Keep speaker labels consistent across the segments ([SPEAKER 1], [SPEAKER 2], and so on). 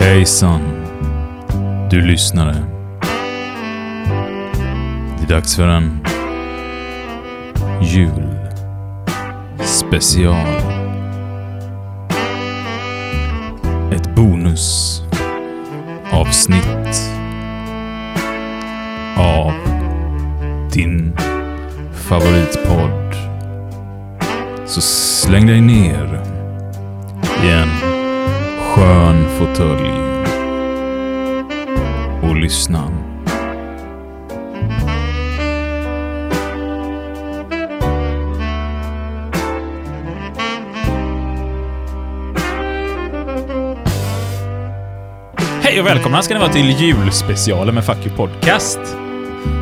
[SPEAKER 1] Hejsan! Du lyssnare. Det är dags för en julspecial. Ett bonusavsnitt av din favoritpodd. Så släng dig ner i en skön fåtölj och lyssna.
[SPEAKER 2] Hej och välkomna ska ni vara till julspecialen med Fuck You Podcast.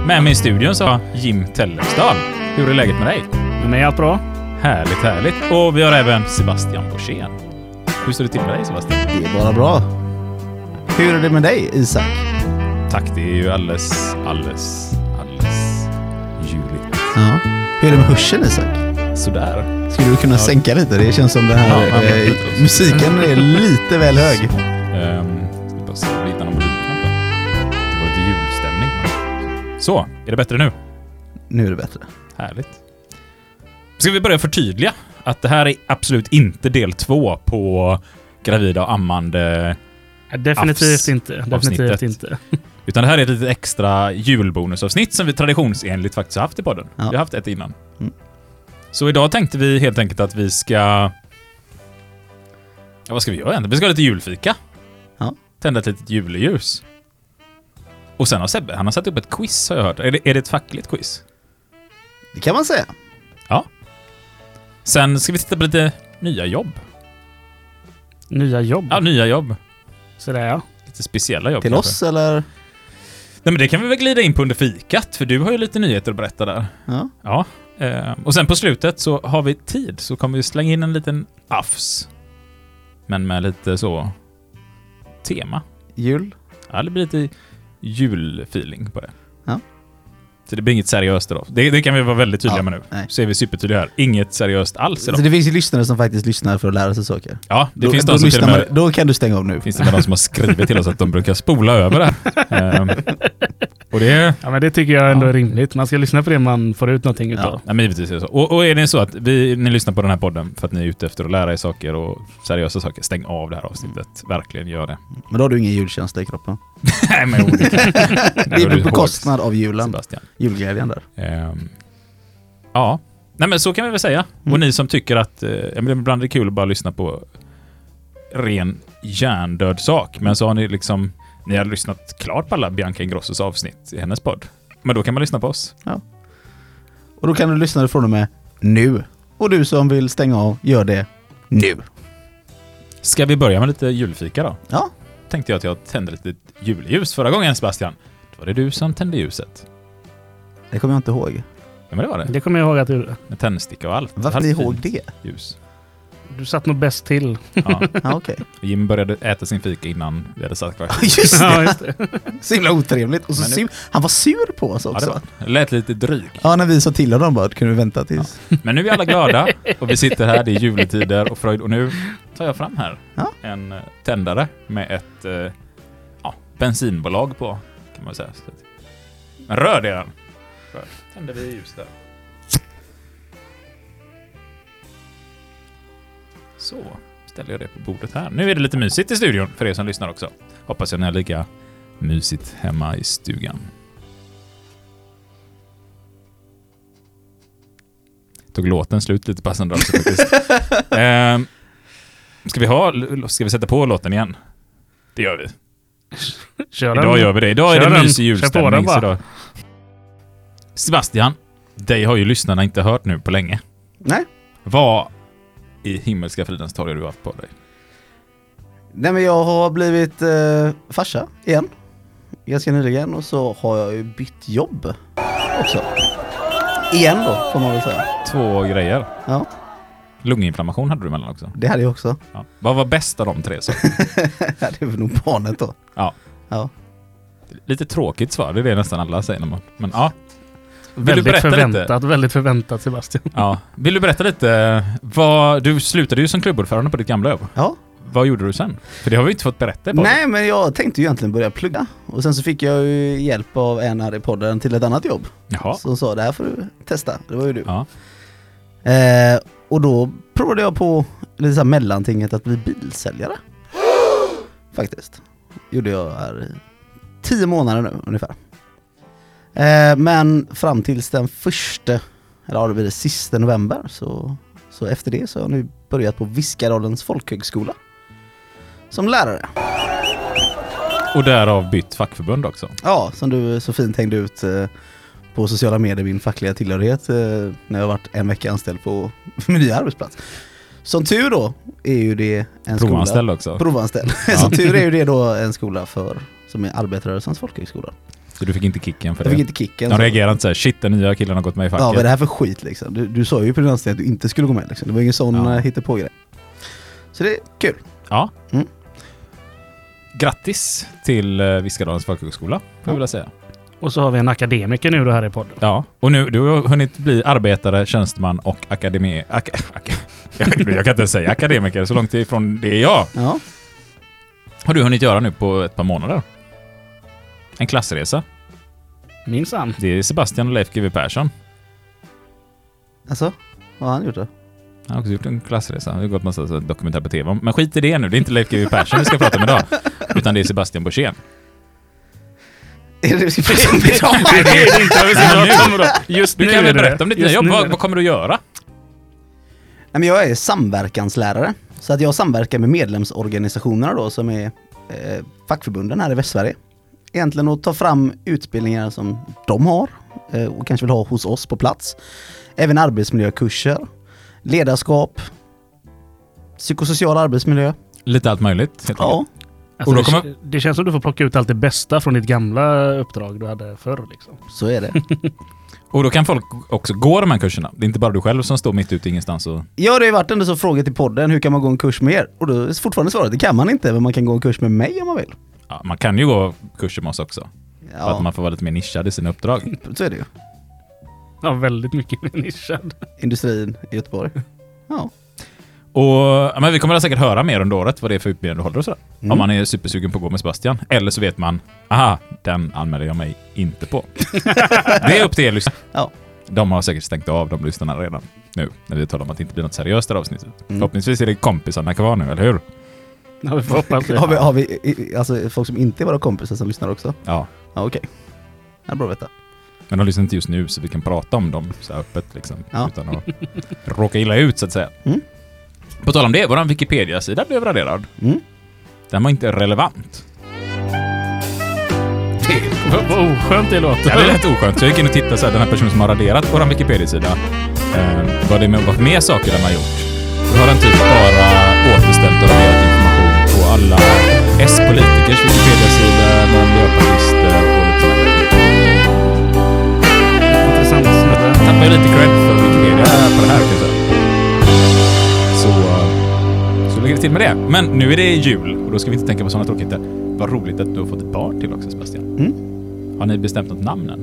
[SPEAKER 2] Med mig i studion så har Jim Tellerstad. Hur är läget med dig?
[SPEAKER 3] Men är allt bra?
[SPEAKER 2] Härligt, härligt. Och vi har även Sebastian Borssén. Hur står det till med dig Sebastian?
[SPEAKER 4] Det är bara bra. Hur är det med dig, Isak?
[SPEAKER 2] Tack, det är ju alldeles, alldeles, alldeles juligt.
[SPEAKER 4] Ja. Hur är det med hörseln, Isak?
[SPEAKER 2] Sådär.
[SPEAKER 4] Skulle du kunna sänka lite? Det känns som den här
[SPEAKER 2] Ja, ja, men-
[SPEAKER 4] eh, musiken är lite väl hög.
[SPEAKER 2] Ehm, vi bara se om vi hittar någon volymknapp där. Det var lite julstämning. Så, är det bättre nu?
[SPEAKER 4] Nu är det bättre.
[SPEAKER 2] Härligt. Ska vi börja förtydliga att det här är absolut inte del två på gravida och ammande,
[SPEAKER 3] Definitivt
[SPEAKER 2] Abs-
[SPEAKER 3] inte.
[SPEAKER 2] avsnittet.
[SPEAKER 3] Definitivt inte.
[SPEAKER 2] utan det här är ett litet extra julbonusavsnitt som vi traditionsenligt faktiskt har haft i podden.
[SPEAKER 4] Ja.
[SPEAKER 2] Vi har haft ett innan.
[SPEAKER 4] Mm.
[SPEAKER 2] Så idag tänkte vi helt enkelt att vi ska... Ja, vad ska vi göra egentligen? Vi ska ha lite julfika.
[SPEAKER 4] Ja.
[SPEAKER 2] Tända ett litet juleljus. Och sen har Sebbe, han har satt upp ett quiz har jag hört. Är det, är det ett fackligt quiz?
[SPEAKER 4] Det kan man säga.
[SPEAKER 2] Sen ska vi titta på lite nya jobb.
[SPEAKER 3] Nya jobb.
[SPEAKER 2] Ja, nya jobb.
[SPEAKER 3] Sådär ja.
[SPEAKER 2] Lite speciella jobb
[SPEAKER 4] Till
[SPEAKER 2] kanske.
[SPEAKER 4] oss, eller?
[SPEAKER 2] Nej men det kan vi väl glida in på under fikat, för du har ju lite nyheter att berätta där.
[SPEAKER 4] Ja.
[SPEAKER 2] Ja. Eh, och sen på slutet så har vi tid, så kommer vi slänga in en liten afs. Men med lite så... Tema.
[SPEAKER 4] Jul?
[SPEAKER 2] Ja, det blir lite julfeeling på det.
[SPEAKER 4] Ja.
[SPEAKER 2] Så det blir inget seriöst idag. Det, det kan vi vara väldigt tydliga
[SPEAKER 4] Ja,
[SPEAKER 2] med nu.
[SPEAKER 4] nej.
[SPEAKER 2] Så är vi supertydliga här. Inget seriöst alls
[SPEAKER 4] Så
[SPEAKER 2] idag.
[SPEAKER 4] det finns ju lyssnare som faktiskt lyssnar för att lära sig saker.
[SPEAKER 2] Ja, det
[SPEAKER 4] då,
[SPEAKER 2] finns
[SPEAKER 4] då,
[SPEAKER 2] de som till och
[SPEAKER 4] lyssnar
[SPEAKER 2] med...
[SPEAKER 4] man, då kan du stänga av nu.
[SPEAKER 2] Finns det med de som har skrivit till oss att de brukar spola över det. här. Eh, och det...
[SPEAKER 3] ja men det tycker jag ändå
[SPEAKER 2] Ja.
[SPEAKER 3] är rimligt. Man ska lyssna på det man får ut någonting
[SPEAKER 2] Ja,
[SPEAKER 3] utav.
[SPEAKER 2] nej, men givetvis är det så. Och, och är det så att vi, ni lyssnar på den här podden för att ni är ute efter att lära er saker och seriösa saker, stäng av det här avsnittet. Verkligen gör det.
[SPEAKER 4] Men då har du ingen julkänsla i kroppen.
[SPEAKER 2] Mm. nej, men jo, det kan-
[SPEAKER 4] Det
[SPEAKER 2] var du
[SPEAKER 4] är på bekostnad av julen.
[SPEAKER 2] Sebastian.
[SPEAKER 4] Julglädjen där.
[SPEAKER 2] Ehm, ja, nej, men så kan vi väl säga. Och
[SPEAKER 4] Mm.
[SPEAKER 2] ni som tycker att eh, ja, men ibland är det kul att bara lyssna på ren hjärndöd sak, men så har ni liksom ni har lyssnat klart på alla Bianca Ingrossos avsnitt i hennes podd. Men då kan man lyssna på oss.
[SPEAKER 4] Och då kan du lyssna från och med nu. Och du som vill stänga av, gör det nu.
[SPEAKER 2] Ska vi börja med lite julfika då?
[SPEAKER 4] Ja.
[SPEAKER 2] Tänkte jag att jag tände lite julljus förra gången Sebastian. Då var det du som tände ljuset.
[SPEAKER 4] Det kommer jag inte ihåg.
[SPEAKER 2] Ja men det var det.
[SPEAKER 3] Det kommer jag ihåg att du,
[SPEAKER 2] Med tändsticka och allt.
[SPEAKER 4] Varför
[SPEAKER 2] Det
[SPEAKER 4] ni
[SPEAKER 2] hade
[SPEAKER 4] ihåg
[SPEAKER 2] fint
[SPEAKER 4] det?
[SPEAKER 2] Ljus.
[SPEAKER 3] du satt nog bäst till.
[SPEAKER 2] Ja.
[SPEAKER 4] Ja, okej.
[SPEAKER 2] Och Jim började äta sin fika innan vi hade sagt klart.
[SPEAKER 4] Just
[SPEAKER 3] ja,
[SPEAKER 4] det.
[SPEAKER 3] just det.
[SPEAKER 4] Så himla otrevligt. Och så
[SPEAKER 2] Men nu-
[SPEAKER 4] sur, han var sur på oss
[SPEAKER 2] Ja, det
[SPEAKER 4] också.
[SPEAKER 2] var. det lät lite dryg.
[SPEAKER 4] Ja, när vi sa till honom bara, kunde vi vänta tills...
[SPEAKER 2] Men nu är alla glada och vi sitter här, det är juletider och fröjd. Och nu tar jag fram här
[SPEAKER 4] Ja.
[SPEAKER 2] en eh, tändare med ett eh, ja, bensinbolag på. Kan man säga. Så att- Men röd är den. Röd. Tänder vi ljus där. Så, ställer jag det på bordet här. Nu är det lite mysigt i studion för er som lyssnar också. Hoppas jag ni har lika mysigt hemma i stugan. Tog låten slut lite passande också faktiskt. Ehm, ska vi ha, ska vi sätta på låten igen? Det gör vi.
[SPEAKER 3] Kör den.
[SPEAKER 2] Idag gör vi det. Idag
[SPEAKER 3] Kör
[SPEAKER 2] är det
[SPEAKER 3] den.
[SPEAKER 2] mysig
[SPEAKER 3] Kör på den
[SPEAKER 2] julstämning.
[SPEAKER 3] bara.
[SPEAKER 2] så idag- Sebastian, dig har ju lyssnarna inte hört nu på länge.
[SPEAKER 4] Nej.
[SPEAKER 2] Vad i himmelska fridens torg har du haft på dig?
[SPEAKER 4] Nej, men jag har blivit eh, farsa igen. Ganska nyligen. Och så har jag ju bytt jobb också. Igen då, får man väl säga.
[SPEAKER 2] Två grejer.
[SPEAKER 4] Ja,
[SPEAKER 2] Lunginflammation hade du emellan också.
[SPEAKER 4] det hade jag också.
[SPEAKER 2] Ja. Vad var bäst av de tre? Så?
[SPEAKER 4] Ja, det var nog barnet då.
[SPEAKER 2] Ja.
[SPEAKER 4] Ja.
[SPEAKER 2] Lite tråkigt svar, det är det nästan alla säger. när man- Men ja. Vill du
[SPEAKER 3] Väldigt
[SPEAKER 2] berätta
[SPEAKER 3] förväntat.
[SPEAKER 2] lite?
[SPEAKER 3] Väldigt förväntat Sebastian.
[SPEAKER 2] ja. Vill du berätta lite? Vad, du slutade ju som klubbordförande på ditt gamla jobb.
[SPEAKER 4] ja.
[SPEAKER 2] vad gjorde du sen? För det har vi inte fått berätta på.
[SPEAKER 4] Nej, men jag tänkte ju egentligen börja plugga. Och sen så fick jag ju hjälp av en här i podden till ett annat jobb.
[SPEAKER 2] Jaha.
[SPEAKER 4] Som sa det här får du testa. Det var ju du.
[SPEAKER 2] Ja.
[SPEAKER 4] Eh, och då provade jag på lite så här mellantinget att bli bilsäljare. Faktiskt. Gjorde jag här i tio månader nu ungefär. Eh, men fram tills den första, eller ja, det blir det sista november, så, så efter det så har jag nu börjat på Viskarollens folkhögskola. Som lärare.
[SPEAKER 2] Och därav bytt fackförbund också.
[SPEAKER 4] Ja, som du så fint hängde ut eh, på sociala medier min fackliga tillhörighet eh, när jag varit en vecka anställd på min nya arbetsplats. Som tur då är ju det en skola...
[SPEAKER 2] Provanställd också.
[SPEAKER 4] Provanställd. Som tur är ju det då en skola för som är arbetarrörelsens folkhögskola.
[SPEAKER 2] Så du fick inte kicken för
[SPEAKER 4] Jag fick
[SPEAKER 2] det?
[SPEAKER 4] inte kicken.
[SPEAKER 2] De
[SPEAKER 4] så-
[SPEAKER 2] reagerade inte såhär, shit den nya killen har gått med i facket.
[SPEAKER 4] Ja, vad är det här för skit liksom? Du, du sa ju på din anställning att du inte skulle gå med liksom. Det var ingen sån
[SPEAKER 2] Ja.
[SPEAKER 4] ja. hittepågrej. Så det är kul.
[SPEAKER 2] Ja.
[SPEAKER 4] Mm.
[SPEAKER 2] Grattis till eh, Viskadalens folkhögskola, får jag
[SPEAKER 4] Ja.
[SPEAKER 2] vilja säga.
[SPEAKER 3] Och så har vi en akademiker nu då här i podden.
[SPEAKER 2] Ja. Och nu, du har hunnit bli arbetare, tjänsteman och akademi... Ak ak jag, jag kan inte ens säga akademiker, så långt ifrån det är jag.
[SPEAKER 4] Ja.
[SPEAKER 2] Har du hunnit göra nu på ett par månader? En klassresa.
[SPEAKER 3] Minsann.
[SPEAKER 2] Det är Sebastian och Leif GW Persson.
[SPEAKER 4] Alltså, vad har han gjort då?
[SPEAKER 2] Han har också gjort en klassresa. Det har gått massa så här dokumentär på tv om. Men skit i det nu. Det är inte Leif GW Persson vi ska prata med idag. Utan det är Sebastian Borssén.
[SPEAKER 4] Är det det
[SPEAKER 3] Nej, det är det inte. Vi ska
[SPEAKER 2] Men nu-
[SPEAKER 3] prata om det. Just
[SPEAKER 2] Du
[SPEAKER 3] nu
[SPEAKER 2] kan
[SPEAKER 3] är
[SPEAKER 2] väl
[SPEAKER 3] det
[SPEAKER 2] berätta om ditt nya
[SPEAKER 3] Just
[SPEAKER 2] jobb.
[SPEAKER 3] nu är
[SPEAKER 2] Vad,
[SPEAKER 3] det.
[SPEAKER 2] vad kommer du göra?
[SPEAKER 4] Nej, men jag är samverkanslärare. Så att jag samverkar med medlemsorganisationerna då som är eh, fackförbunden här i Västsverige. Egentligen att ta fram utbildningar som de har eh, och kanske vill ha hos oss på plats. Även arbetsmiljökurser, ledarskap, psykosocial arbetsmiljö.
[SPEAKER 2] Lite allt möjligt. helt
[SPEAKER 4] Ja,
[SPEAKER 2] enkelt.
[SPEAKER 3] Alltså,
[SPEAKER 2] Och då
[SPEAKER 3] det,
[SPEAKER 2] kommer-
[SPEAKER 3] det känns som du får plocka ut allt det bästa från ditt gamla uppdrag du hade förr. Liksom.
[SPEAKER 4] så är det.
[SPEAKER 2] Och då kan folk också gå de här kurserna. Det är inte bara du själv som står mitt ute i ingenstans och...
[SPEAKER 4] Ja, det har ju varit en sån fråga till podden, hur kan man gå en kurs med er? Och då är fortfarande svaret, det kan man inte, men man kan gå en kurs med mig om man vill.
[SPEAKER 2] Ja, man kan ju gå kurser med oss också. För att
[SPEAKER 4] Ja,
[SPEAKER 2] man får vara lite mer nischad i sina uppdrag.
[SPEAKER 4] så är det ju.
[SPEAKER 3] Ja, väldigt mycket nischad.
[SPEAKER 4] Industrin i Göteborg. Ja.
[SPEAKER 2] Och ja, men vi kommer säkert höra mer under året vad det är för utbildning du håller och sådär.
[SPEAKER 4] Mm.
[SPEAKER 2] Om man är supersugen på att gå med Sebastian. Eller så vet man, aha, den anmäler jag mig inte på. det är upp till er lyssnare.
[SPEAKER 4] Ja.
[SPEAKER 2] De har säkert stängt av de lyssnarna redan nu, när vi talar om att det inte blir något seriöst i det här avsnittet.
[SPEAKER 4] Mm.
[SPEAKER 2] Förhoppningsvis är det kompisarna kvar nu, eller hur?
[SPEAKER 3] Ja, vi får hoppas det.
[SPEAKER 4] Har vi, har vi i- i- alltså, folk som inte är våra kompisar som lyssnar också?
[SPEAKER 2] Ja.
[SPEAKER 4] Ja, okej. Det är bra att veta.
[SPEAKER 2] Men de lyssnar inte just nu, så vi kan prata om dem så här öppet liksom.
[SPEAKER 4] Ja.
[SPEAKER 2] Utan att råka illa ut, så att säga.
[SPEAKER 4] Mm.
[SPEAKER 2] På tal om det, vår Wikipedia-sida blev raderad.
[SPEAKER 4] Mm.
[SPEAKER 2] Den var inte relevant.
[SPEAKER 3] Vad vad oskönt det låter.
[SPEAKER 2] Ja, det lät oskönt. Så jag gick in och tittade så här, den här personen som har raderat vår Wikipedia-sida. Eh, vad det med, vad mer saker den har gjort. Då har den typ bara återställt och raderat information på alla S-politikers Wikipedia-sida, några miljöpartister och lite sådär.
[SPEAKER 3] Intressant snubbe.
[SPEAKER 2] Tappar ju lite cred för Wikipedia på det här kan jag säga. Så, eh, så ligger det till med det. Men nu är det jul och då ska vi inte tänka på sådana tråkigheter. Vad roligt att du har fått ett barn till också Sebastian.
[SPEAKER 4] Mm.
[SPEAKER 2] Har ni bestämt något namn än?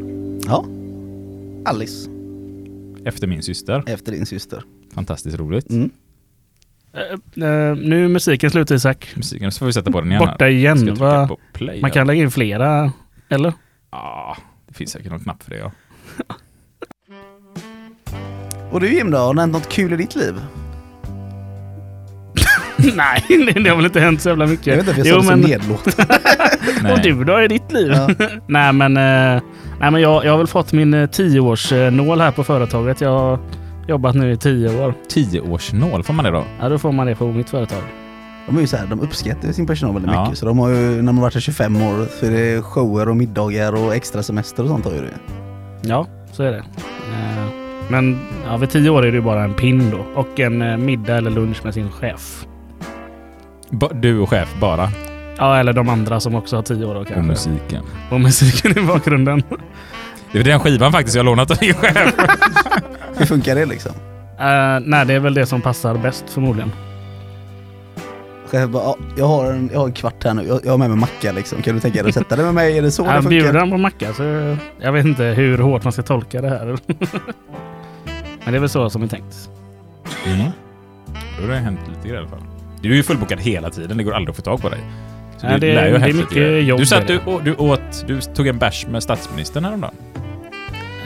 [SPEAKER 4] Ja. Alice,
[SPEAKER 2] Efter min syster.
[SPEAKER 4] efter din syster.
[SPEAKER 2] Fantastiskt roligt.
[SPEAKER 4] Mm.
[SPEAKER 3] Eh, eh, nu är musiken slut Isak.
[SPEAKER 2] musiken så får vi sätta på den igen.
[SPEAKER 3] Borta
[SPEAKER 2] här.
[SPEAKER 3] igen,
[SPEAKER 2] Ska jag trycka
[SPEAKER 3] va?
[SPEAKER 2] På play
[SPEAKER 3] Man kan lägga in flera, eller?
[SPEAKER 2] Ah, det finns säkert någon knapp för det ja.
[SPEAKER 4] Och du Jim då, har det hänt något kul i ditt liv?
[SPEAKER 3] Nej, det- det har väl inte hänt så jävla mycket.
[SPEAKER 4] Jag vet inte, för
[SPEAKER 3] Jo,
[SPEAKER 4] jag sa det
[SPEAKER 3] men-
[SPEAKER 4] så nedlåtande.
[SPEAKER 3] Och du då i ditt liv?
[SPEAKER 4] Ja.
[SPEAKER 3] nej, men, eh, nej, men jag, jag har väl fått min eh, tioårsnål här på företaget. Jag har jobbat nu i tio år.
[SPEAKER 2] Tioårsnål, får man det då?
[SPEAKER 3] Ja, då får man det på mitt företag.
[SPEAKER 4] De är ju så här, de uppskattar ju sin personal väldigt
[SPEAKER 2] Ja.
[SPEAKER 4] mycket. Så de har ju, när man har varit här 25 år, så är det shower och middagar och extra semester och sånt har ju det.
[SPEAKER 3] Ja, så är det. Eh, Men ja, vid tio år är det ju bara en pin då. Och en eh, middag eller lunch med sin chef.
[SPEAKER 2] Ba- du och chef bara.
[SPEAKER 3] Ja, eller de andra som också har tio år då kanske.
[SPEAKER 2] Och musiken.
[SPEAKER 3] Och musiken i bakgrunden.
[SPEAKER 2] Det är den skivan faktiskt jag har lånat av din chef.
[SPEAKER 4] Hur funkar det liksom?
[SPEAKER 3] Eh, nej, det är väl det som passar bäst förmodligen.
[SPEAKER 4] Chefen bara, "Ja, jag har, en, jag har en kvart här nu, jag, jag har med mig macka liksom. Kan du tänka dig att sätta dig med mig? Är det så det
[SPEAKER 3] Han bjuder
[SPEAKER 4] funkar?
[SPEAKER 3] han på macka så jag vet inte hur hårt man ska tolka det här. Men det är väl så som är tänkt.
[SPEAKER 2] Mm. Då har det hänt lite i alla fall. Du är ju fullbokad hela tiden. Det går aldrig att få tag på dig. Så
[SPEAKER 3] Nej, det-
[SPEAKER 2] lär ju
[SPEAKER 3] det är
[SPEAKER 2] häftigt
[SPEAKER 3] mycket
[SPEAKER 2] att göra.
[SPEAKER 3] jobb
[SPEAKER 2] Du,
[SPEAKER 3] är
[SPEAKER 2] satt, du,
[SPEAKER 3] det.
[SPEAKER 2] och, du, åt, du tog en bärs med statsministern häromdagen.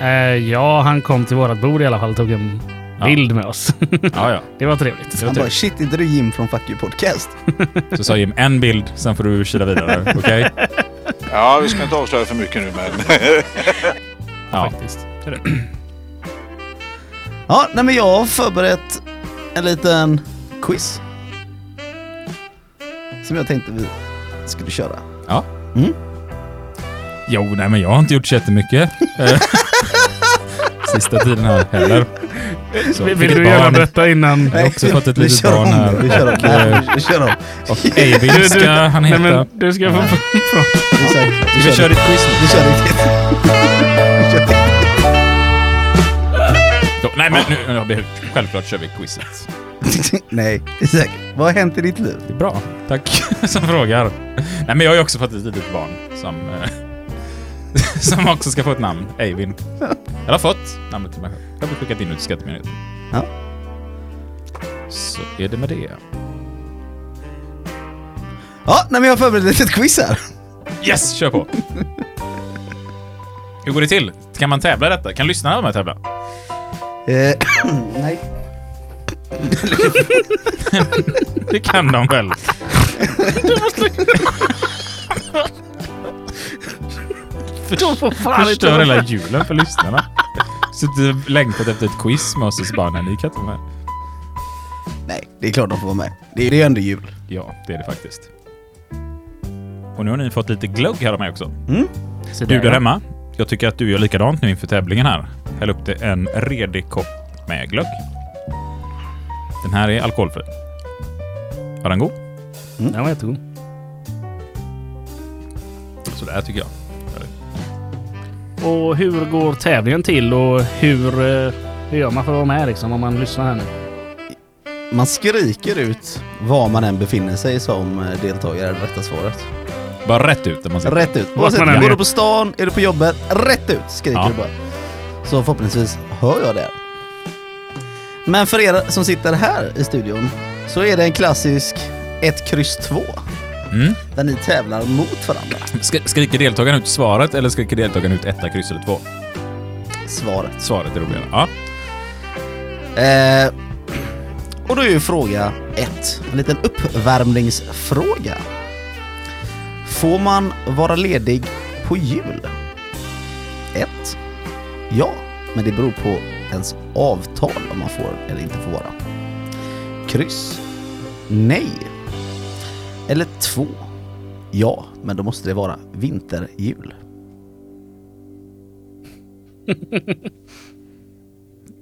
[SPEAKER 3] Eh, ja, han kom till vårat bord i alla fall och tog en
[SPEAKER 2] Ja.
[SPEAKER 3] bild med oss.
[SPEAKER 2] Ja, ja.
[SPEAKER 3] Det var trevligt.
[SPEAKER 2] Det var
[SPEAKER 4] Han bara
[SPEAKER 2] trevligt.
[SPEAKER 4] shit, inte du Jim från Fuck You Podcast?
[SPEAKER 2] Så sa Jim en bild, sen får du kila vidare. Okej?
[SPEAKER 5] Ja, vi ska inte avslöja för mycket nu men...
[SPEAKER 2] Ja.
[SPEAKER 3] Faktiskt. Så är det.
[SPEAKER 4] Ja, nej men jag har förberett en liten quiz. Som jag tänkte vi skulle köra.
[SPEAKER 2] Mm. Jo, nej men jag har inte gjort så jättemycket. Eh, Sista tiden här heller. Så,
[SPEAKER 3] Vill,
[SPEAKER 2] fick
[SPEAKER 3] vill
[SPEAKER 2] ett
[SPEAKER 3] du göra
[SPEAKER 2] barn
[SPEAKER 3] detta innan?
[SPEAKER 2] har också
[SPEAKER 4] vi-
[SPEAKER 2] fått ett
[SPEAKER 4] vi
[SPEAKER 2] litet
[SPEAKER 4] kör
[SPEAKER 2] barn
[SPEAKER 4] om
[SPEAKER 2] här.
[SPEAKER 4] nu, Vi kör om.
[SPEAKER 2] Och,
[SPEAKER 4] Nej, Vi kör om.
[SPEAKER 2] Och Eivind ska han
[SPEAKER 3] Nej,
[SPEAKER 2] heta.
[SPEAKER 3] men du ska få...
[SPEAKER 4] Vi kör-
[SPEAKER 2] Vi
[SPEAKER 4] vi
[SPEAKER 2] kör
[SPEAKER 4] kör
[SPEAKER 2] ditt quiz nu.
[SPEAKER 4] Vi kör riktigt. Vi kör riktigt.
[SPEAKER 2] Då- Nej men nu, nu, har vi- självklart kör vi quizet.
[SPEAKER 4] Nej, Isak. Vad har hänt i ditt liv?
[SPEAKER 2] Det är bra. Tack som frågar. Nej men jag har ju också fått ett litet barn som, eh, som också ska få ett namn. Eivind. Jag har fått namnet till mig själv. Jag har skickat in ut till skattemyndigheten.
[SPEAKER 4] Ja.
[SPEAKER 2] Så är det med det.
[SPEAKER 4] Ja, nej men jag har förberett ett litet quiz här.
[SPEAKER 2] Yes, kör på! Hur går det till? Kan man tävla i detta? Kan lyssnarna vara med och tävla?
[SPEAKER 4] Eh, nej.
[SPEAKER 2] Det kan de väl?
[SPEAKER 3] De får fan inte...
[SPEAKER 2] Förstör hela julen för lyssnarna. Suttit och längtat efter ett quiz med oss och så bara, nej, ni kan inte vara med.
[SPEAKER 4] Nej, det är klart de får vara med. Det är, det är ändå jul.
[SPEAKER 2] Ja, det är det faktiskt. Och nu har ni fått lite glögg här av mig också.
[SPEAKER 3] Se
[SPEAKER 2] Du där
[SPEAKER 3] ja.
[SPEAKER 2] hemma, jag tycker att du gör likadant nu inför tävlingen här. Häll upp dig en redig kopp med glögg. Den här är alkoholfri. Var den god?
[SPEAKER 3] Den var jättegod.
[SPEAKER 2] Sådär tycker jag.
[SPEAKER 3] Och hur går tävlingen till och hur, eh, hur gör man för att vara med liksom om man lyssnar här nu?
[SPEAKER 4] Man skriker ut var man än befinner sig som eh, deltagare är det rätta svaret.
[SPEAKER 2] Bara rätt ut där man sitter.
[SPEAKER 4] Rätt ut.
[SPEAKER 3] Vart
[SPEAKER 4] Oavsett,
[SPEAKER 3] man än
[SPEAKER 4] går
[SPEAKER 3] är.
[SPEAKER 4] du på stan, är du på jobbet, rätt ut skriker
[SPEAKER 2] Ja.
[SPEAKER 4] du bara. Så förhoppningsvis hör jag det. Men för er som sitter här i studion så är det en klassisk 1, kryss 2
[SPEAKER 2] Mm.
[SPEAKER 4] där ni tävlar mot varandra.
[SPEAKER 2] Skri- Skriker deltagaren ut svaret eller skriker deltagaren ut etta, kryss eller två?
[SPEAKER 4] Svaret.
[SPEAKER 2] Svaret är roligare. Ja.
[SPEAKER 4] Eh, och då är ju fråga ett, en liten uppvärmningsfråga. Får man vara ledig på jul? 1. Ja, men det beror på ens avtal om man får eller inte får vara. Kryss. Nej. Eller 2. Ja, men då måste det vara vinterjul.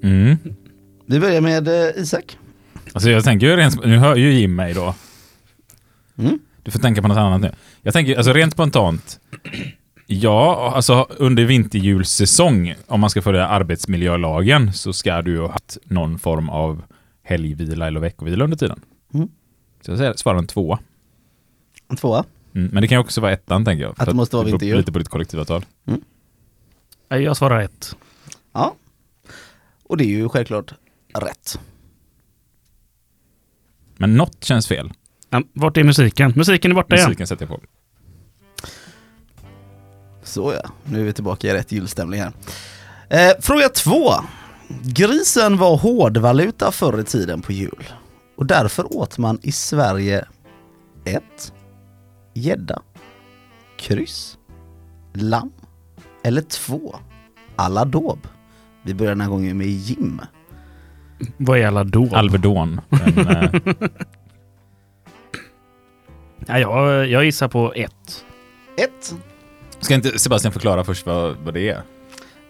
[SPEAKER 2] Mm.
[SPEAKER 4] Vi börjar med eh, Isak.
[SPEAKER 2] Alltså jag tänker ju rent, sp- nu hör ju Jim mig då.
[SPEAKER 4] Mm.
[SPEAKER 2] Du får tänka på något annat nu. Jag tänker, alltså rent spontant. Ja, alltså under vinterjulsäsong, om man ska följa arbetsmiljölagen, så ska du ju ha haft någon form av helgvila eller veckovila under tiden.
[SPEAKER 4] Mm.
[SPEAKER 2] Så jag säger, svarar en tvåa.
[SPEAKER 4] En tvåa.
[SPEAKER 2] Mm, men det kan ju också vara ettan, tänker jag. För
[SPEAKER 4] det måste vara
[SPEAKER 2] beror
[SPEAKER 4] vinterjul.
[SPEAKER 2] Lite på ditt kollektivavtal.
[SPEAKER 3] Nej, Eh, Jag svarar ett.
[SPEAKER 4] Ja. Och det är ju självklart rätt.
[SPEAKER 2] Men något känns fel.
[SPEAKER 3] Ja, Vart är musiken? Musiken är borta igen.
[SPEAKER 2] Musiken sätter jag på.
[SPEAKER 4] Så ja, nu är vi tillbaka i rätt julstämning här. Eh, fråga två. Grisen var hårdvaluta förr i tiden på jul. Och därför åt man i Sverige 1. Gädda. Kryss. Lamm. Eller 2. Aladob. Vi börjar den här gången med Jim.
[SPEAKER 3] Vad är alla då?
[SPEAKER 2] Alvedon. En, eh,
[SPEAKER 3] ja, jag, jag gissar på ett.
[SPEAKER 4] 1.
[SPEAKER 2] Ska inte Sebastian förklara först vad, vad det är?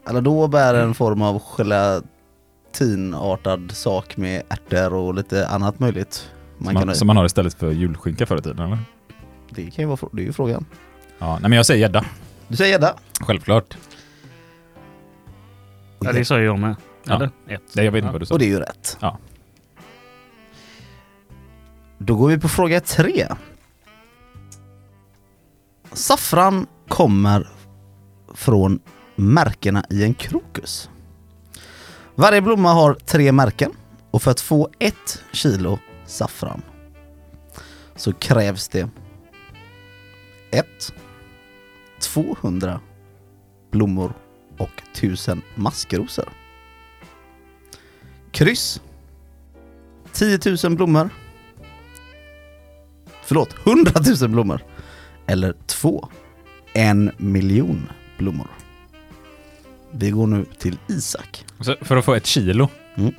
[SPEAKER 4] Aladob är en form av gelatinartad sak med ärtor och lite annat möjligt. Man
[SPEAKER 2] Som
[SPEAKER 4] kan,
[SPEAKER 2] man, som man har istället för julskinka förr i tiden eller?
[SPEAKER 4] det kan ju vara frå- det är ju frågan.
[SPEAKER 2] Ja, nej men jag säger gädda.
[SPEAKER 4] Du säger gädda.
[SPEAKER 2] Självklart.
[SPEAKER 3] Ja, det sa ju jag med.
[SPEAKER 2] Ja.
[SPEAKER 3] Eller? Ett.
[SPEAKER 2] Nej, jag vet inte
[SPEAKER 3] Ja.
[SPEAKER 2] vad du sa.
[SPEAKER 4] Och det är ju rätt.
[SPEAKER 2] Ja.
[SPEAKER 4] Då går vi på fråga tre. Saffran kommer från märkena i en krokus. Varje blomma har tre märken och för att få ett kilo saffran så krävs det ett 200 blommor och 1000 maskrosor. Kryss 10 000 blommor. Förlåt, 100 000 blommor. Eller två, en miljon blommor. Vi går nu till Isak.
[SPEAKER 2] Så för att få ett kilo.
[SPEAKER 4] Mm.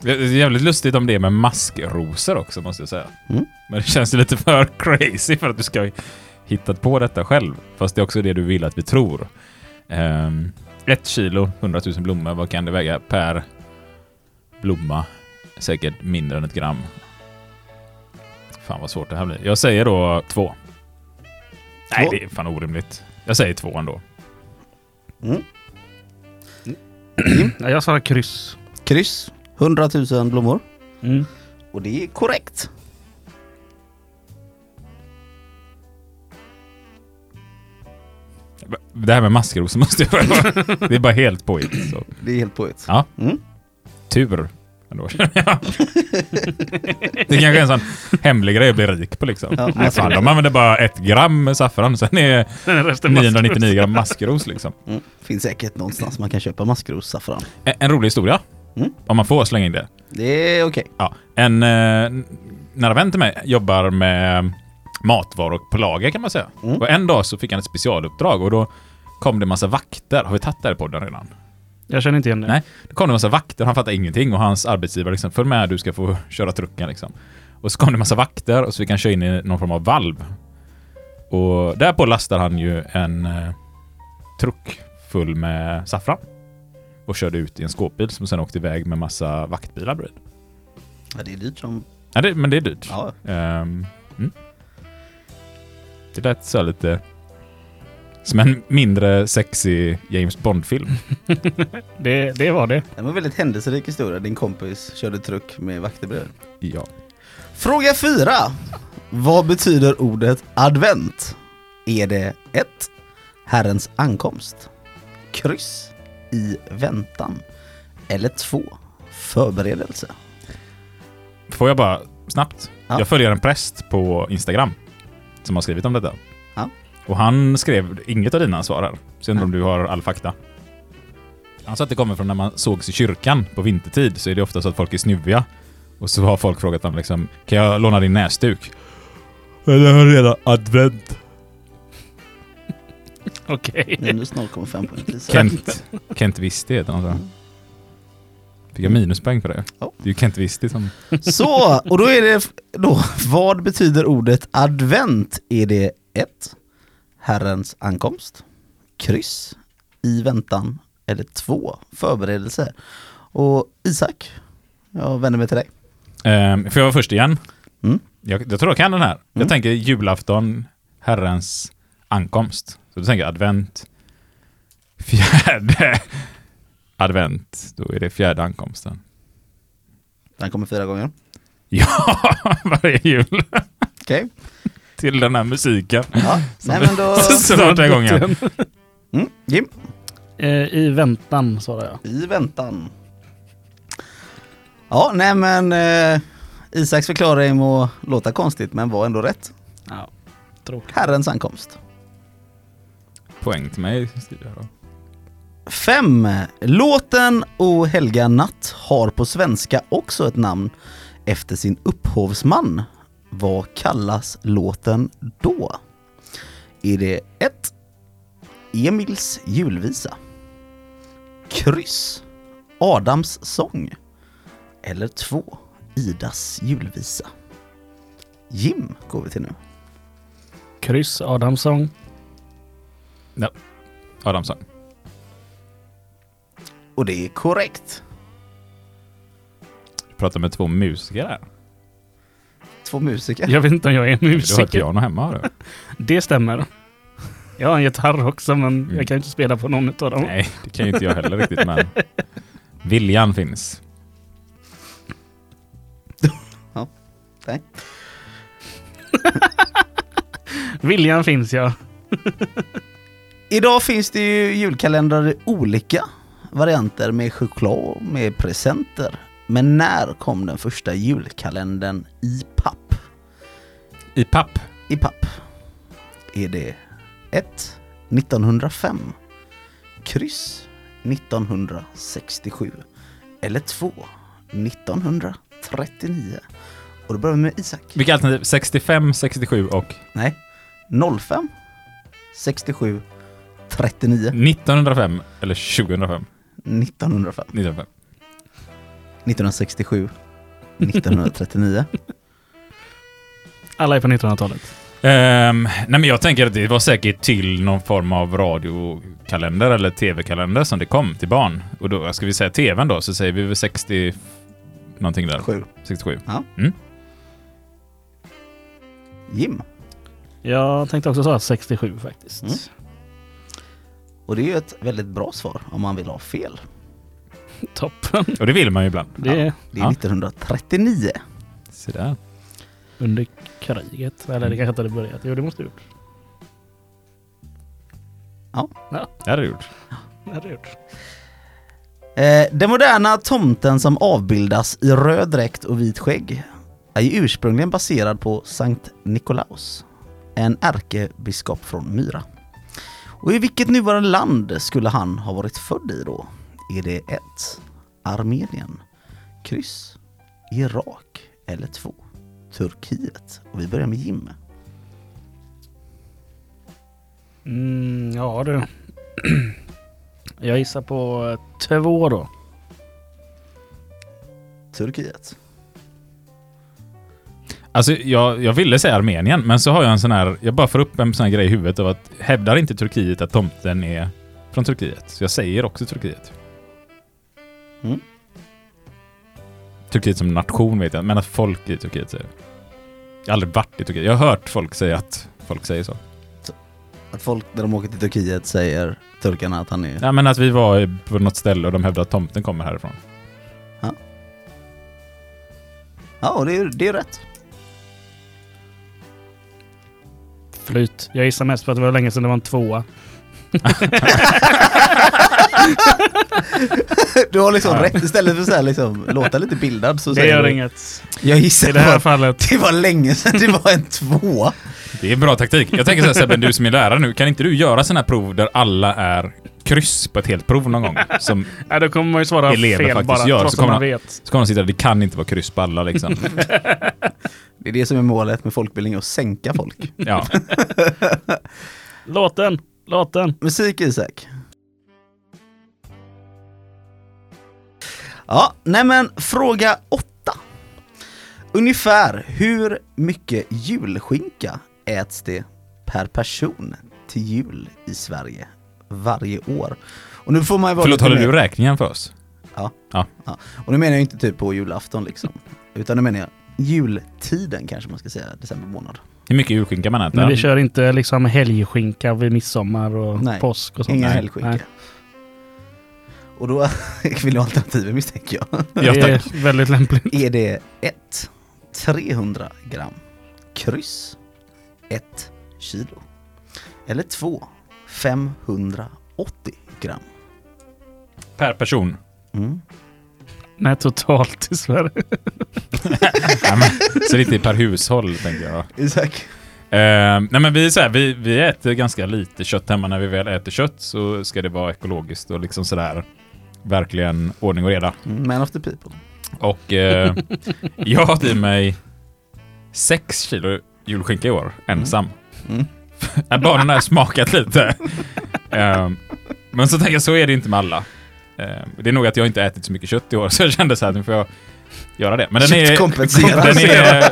[SPEAKER 2] Det är jävligt lustigt om det är med maskrosor också måste jag säga.
[SPEAKER 4] Mm.
[SPEAKER 2] Men det känns ju lite för crazy för att du ska ha hittat på detta själv. Fast det är också det du vill att vi tror. Ehm, ett kilo, 100 000 blommor. Vad kan det väga per blomma? Säkert mindre än ett gram. Fan vad svårt det här blir. Jag säger då två. Nej,
[SPEAKER 4] Två.
[SPEAKER 2] det är fan orimligt. Jag säger två ändå.
[SPEAKER 4] Mm.
[SPEAKER 3] Ja, jag svarar kryss.
[SPEAKER 4] Kryss, 100 000 blommor.
[SPEAKER 3] Mm.
[SPEAKER 4] Och det är korrekt.
[SPEAKER 2] Det här med maskrosor måste jag bara... det är bara helt påhitt. så.
[SPEAKER 4] Det är helt poet.
[SPEAKER 2] Ja.
[SPEAKER 4] Mm.
[SPEAKER 2] Tur. Ändå, känner jag. det kanske är en sån hemlig grej att bli rik på liksom.
[SPEAKER 4] Ja,
[SPEAKER 2] Nej, fan, de använder bara ett gram saffran, sen är
[SPEAKER 3] Resten
[SPEAKER 2] 999 gram maskros liksom.
[SPEAKER 4] Mm. Finns säkert någonstans man kan köpa maskrossaffran.
[SPEAKER 2] En, en rolig historia,
[SPEAKER 4] Mm.
[SPEAKER 2] om man får slänga in det.
[SPEAKER 4] Det är okej.
[SPEAKER 2] Ja. En eh, nära vän till mig jobbar med matvaror på lager kan man säga.
[SPEAKER 4] Mm.
[SPEAKER 2] Och en dag så fick han ett specialuppdrag och då kom det en massa vakter. Har vi tagit det här i podden redan?
[SPEAKER 3] Jag känner inte igen det.
[SPEAKER 2] Nej. Då kom det en massa vakter, han fattade ingenting och hans arbetsgivare liksom, följ med du ska få köra trucken liksom. Och så kom det en massa vakter och så fick han köra in i någon form av valv. Och därpå lastar han ju en eh, truck full med saffran. Och körde ut i en skåpbil som sen åkte iväg med massa vaktbilar bredvid.
[SPEAKER 4] Ja, det är dyrt som...
[SPEAKER 2] Ja, det, men det är dyrt.
[SPEAKER 4] Ja.
[SPEAKER 2] Ehm, mm. Det lät så här lite som en mindre sexig James Bond-film.
[SPEAKER 3] Det, det var det.
[SPEAKER 4] Det var en väldigt händelserik historia. Din kompis körde truck med vakterbröd.
[SPEAKER 2] Ja.
[SPEAKER 4] Fråga fyra. Vad betyder ordet advent? Är det 1. Herrens ankomst. Kryss. I väntan. Eller 2. Förberedelse.
[SPEAKER 2] Får jag bara snabbt?
[SPEAKER 4] Ja.
[SPEAKER 2] Jag följer en präst på Instagram som har skrivit om detta.
[SPEAKER 4] Ja.
[SPEAKER 2] Och han skrev inget av dina svar här. Så jag undrar
[SPEAKER 4] Ja.
[SPEAKER 2] om du har all fakta. Han sa att det kommer från när man sågs i kyrkan på vintertid så är det ofta så att folk är snuviga. Och så har folk frågat dem liksom, kan jag låna din näsduk? Jag har redan advent.
[SPEAKER 3] Okej.
[SPEAKER 4] Minus 0,5 poäng. till Isak.
[SPEAKER 2] Kent, Kent Visti heter han tror jag. Fick jag minuspoäng för det?
[SPEAKER 4] Mm. Ja.
[SPEAKER 2] Det är ju Kent Visti som...
[SPEAKER 4] Så, och då är det då, vad betyder ordet advent? Är det 1. Herrens ankomst, kryss, i väntan eller 2. Förberedelse. Och Isak, jag vänder mig till dig.
[SPEAKER 2] Ehm, får jag vara först igen?
[SPEAKER 4] Mm.
[SPEAKER 2] Jag, jag tror jag kan den här.
[SPEAKER 4] Mm.
[SPEAKER 2] Jag tänker julafton, Herrens ankomst. Så då tänker jag advent, fjärde advent. Då är det fjärde ankomsten.
[SPEAKER 4] Den kommer fyra gånger.
[SPEAKER 2] Ja, varje jul
[SPEAKER 4] Okej.
[SPEAKER 2] till den här musiken.
[SPEAKER 4] Ja. Nej men då...
[SPEAKER 2] Snart en gång igen.
[SPEAKER 4] Mm, Jim,
[SPEAKER 3] Eh, I väntan svarar jag.
[SPEAKER 4] i väntan. Ja, nej men eh, Isaks förklaring må låta konstigt men var ändå rätt.
[SPEAKER 3] Ja. Tråkigt.
[SPEAKER 4] Herrens ankomst.
[SPEAKER 2] Poäng till mig skriver jag då.
[SPEAKER 4] 5. Låten O helga natt har på svenska också ett namn efter sin upphovsman. Vad kallas låten då? Är det 1. Emils julvisa? Kryss. Adams sång? Eller 2. Idas julvisa? Jim går vi till nu.
[SPEAKER 3] Kryss Adamsson.
[SPEAKER 2] Adamsson.
[SPEAKER 4] Och det är korrekt.
[SPEAKER 2] Du pratar med två musiker här.
[SPEAKER 4] Två musiker.
[SPEAKER 3] Jag vet inte om jag är
[SPEAKER 2] Du har ett
[SPEAKER 3] musiker.
[SPEAKER 2] piano hemma har du?
[SPEAKER 3] Det stämmer. Jag har en gitarr också men
[SPEAKER 2] Mm.
[SPEAKER 3] jag kan ju inte spela på någon av dem.
[SPEAKER 2] Nej, det kan ju inte jag heller riktigt men viljan finns.
[SPEAKER 3] Viljan finns ja.
[SPEAKER 4] Idag finns det ju julkalendrar i olika varianter med choklad, med presenter, Men när kom den första julkalendern i papp?
[SPEAKER 2] I papp.
[SPEAKER 4] I papp. Är det 1. 1905 Kryss 1967 Eller 2. 1939 Och då börjar vi med Isak.
[SPEAKER 2] Vilka alternativ? 65, 67 och
[SPEAKER 4] Nej. 05 67 39
[SPEAKER 2] 1905 eller 2005?
[SPEAKER 4] 1905
[SPEAKER 2] 1905.
[SPEAKER 4] 1967 1939
[SPEAKER 3] Alla är på 1900-talet.
[SPEAKER 2] Ehm, nej men jag tänker att det var säkert till någon form av radiokalender eller tv-kalender som det kom till barn. Och då, ska vi säga tvn då, så säger vi väl 60... Någonting där.
[SPEAKER 4] 7
[SPEAKER 2] 67.
[SPEAKER 4] Jim.
[SPEAKER 3] Jag tänkte också säga 67 faktiskt.
[SPEAKER 4] Mm. Och det är ju ett väldigt bra svar om man vill ha fel.
[SPEAKER 3] Toppen.
[SPEAKER 2] Och det vill man ju ibland.
[SPEAKER 3] Det är
[SPEAKER 4] Det är
[SPEAKER 2] Ja.
[SPEAKER 4] 1939.
[SPEAKER 2] Se där.
[SPEAKER 3] under kriget. Eller det kanske inte hade börjat. Jo, det måste det gjort.
[SPEAKER 2] Det hade du gjort.
[SPEAKER 3] Det hade det gjort.
[SPEAKER 4] Eh, den moderna tomten som avbildas i röd dräkt och vit skägg är ju ursprungligen baserad på Sankt Nikolaus, en ärkebiskop från Myra. Och i vilket nuvarande land skulle han ha varit född i då? Är det 1. Armenien, kryss, Irak eller 2. Turkiet? Och vi börjar med Jim.
[SPEAKER 3] Mm, ja du. Jag gissar på eh, två då.
[SPEAKER 4] Turkiet.
[SPEAKER 2] Alltså jag, jag ville säga Armenien, men så har jag en sån här... Jag bara får upp en sån här grej i huvudet av att hävdar inte Turkiet att tomten är från Turkiet? Så jag säger också Turkiet.
[SPEAKER 4] Mm.
[SPEAKER 2] Turkiet som nation vet jag, men att folk i Turkiet säger det. Jag har aldrig varit i Turkiet. Jag har hört folk säga att folk säger så.
[SPEAKER 4] Att folk när de åker till Turkiet säger turkarna att han är...
[SPEAKER 2] Ja, men att vi var i- på något ställe och de hävdade att tomten kommer härifrån.
[SPEAKER 4] Ja, och det är det är rätt.
[SPEAKER 3] Flyt. Jag gissar mest på att det var länge sedan det var en tvåa.
[SPEAKER 4] Du har liksom rätt istället för så här liksom, låta lite bildad så
[SPEAKER 3] Det
[SPEAKER 4] säger
[SPEAKER 3] gör
[SPEAKER 4] du,
[SPEAKER 3] inget.
[SPEAKER 4] Jag gissar
[SPEAKER 3] I det här
[SPEAKER 4] på
[SPEAKER 3] fallet.
[SPEAKER 4] att det var länge sedan det var en tvåa.
[SPEAKER 2] Det är bra taktik. Jag tänker så här Sebbe, du som är lärare nu, kan inte du göra sådana här prov där alla är kryss på ett helt prov någon gång? Som
[SPEAKER 3] Ja, då kommer man ju svara
[SPEAKER 2] Elever
[SPEAKER 3] fel
[SPEAKER 2] faktiskt
[SPEAKER 3] bara.
[SPEAKER 2] gör,
[SPEAKER 3] trots
[SPEAKER 2] så
[SPEAKER 3] att
[SPEAKER 2] kommer
[SPEAKER 3] man
[SPEAKER 2] man-
[SPEAKER 3] vet.
[SPEAKER 2] Ska de sitta där? Det kan inte vara kryss på alla liksom.
[SPEAKER 4] Det är det som är målet med folkbildning, att sänka folk.
[SPEAKER 2] Ja.
[SPEAKER 3] Låt den. Låt den.
[SPEAKER 4] Musik Isak. Ja, nej men fråga åtta. Ungefär hur mycket julskinka äts det per person till jul i Sverige varje år? Och nu får man ju vara
[SPEAKER 2] Förlåt,
[SPEAKER 4] lite
[SPEAKER 2] håller
[SPEAKER 4] mer-
[SPEAKER 2] du räkningen för oss?
[SPEAKER 4] Ja. Och nu menar jag inte typ på julafton liksom. Utan nu menar jag jultiden kanske man ska säga, december månad.
[SPEAKER 2] Hur mycket julskinka man äter?
[SPEAKER 3] Men vi kör inte liksom helgskinka vid midsommar och
[SPEAKER 4] Nej.
[SPEAKER 3] påsk och sånt.
[SPEAKER 4] Ingen
[SPEAKER 3] Nej.
[SPEAKER 4] helgskinka.
[SPEAKER 3] Nej.
[SPEAKER 4] Och då vill jag ha alternativen misstänker jag.
[SPEAKER 2] Ja,
[SPEAKER 3] det
[SPEAKER 2] tack.
[SPEAKER 3] är väldigt lämpligt.
[SPEAKER 4] Är det 1. 300 gram. Kryss. 1 kilo. Eller 2. 580 gram.
[SPEAKER 2] Per person.
[SPEAKER 4] Mm.
[SPEAKER 3] Nej, totalt i Sverige.
[SPEAKER 2] Nej, men, så lite per hushåll, tänker jag.
[SPEAKER 4] Isak.
[SPEAKER 2] Eh, nej, men vi, är så här, vi, vi äter ganska lite kött hemma. När vi väl äter kött så ska det vara ekologiskt och liksom sådär verkligen ordning och reda.
[SPEAKER 4] Mm, Man of the people.
[SPEAKER 2] Och eh, jag har i mig sex kilo julskinka i år, ensam.
[SPEAKER 4] Mm.
[SPEAKER 2] När barnen har smakat lite. Ehm, men så tänker jag, så är det inte med alla. Ehm, det är nog att jag inte ätit så mycket kött i år, så jag kände så här, nu får jag göra det. Men den är,
[SPEAKER 4] Köttkompenserad.
[SPEAKER 2] den är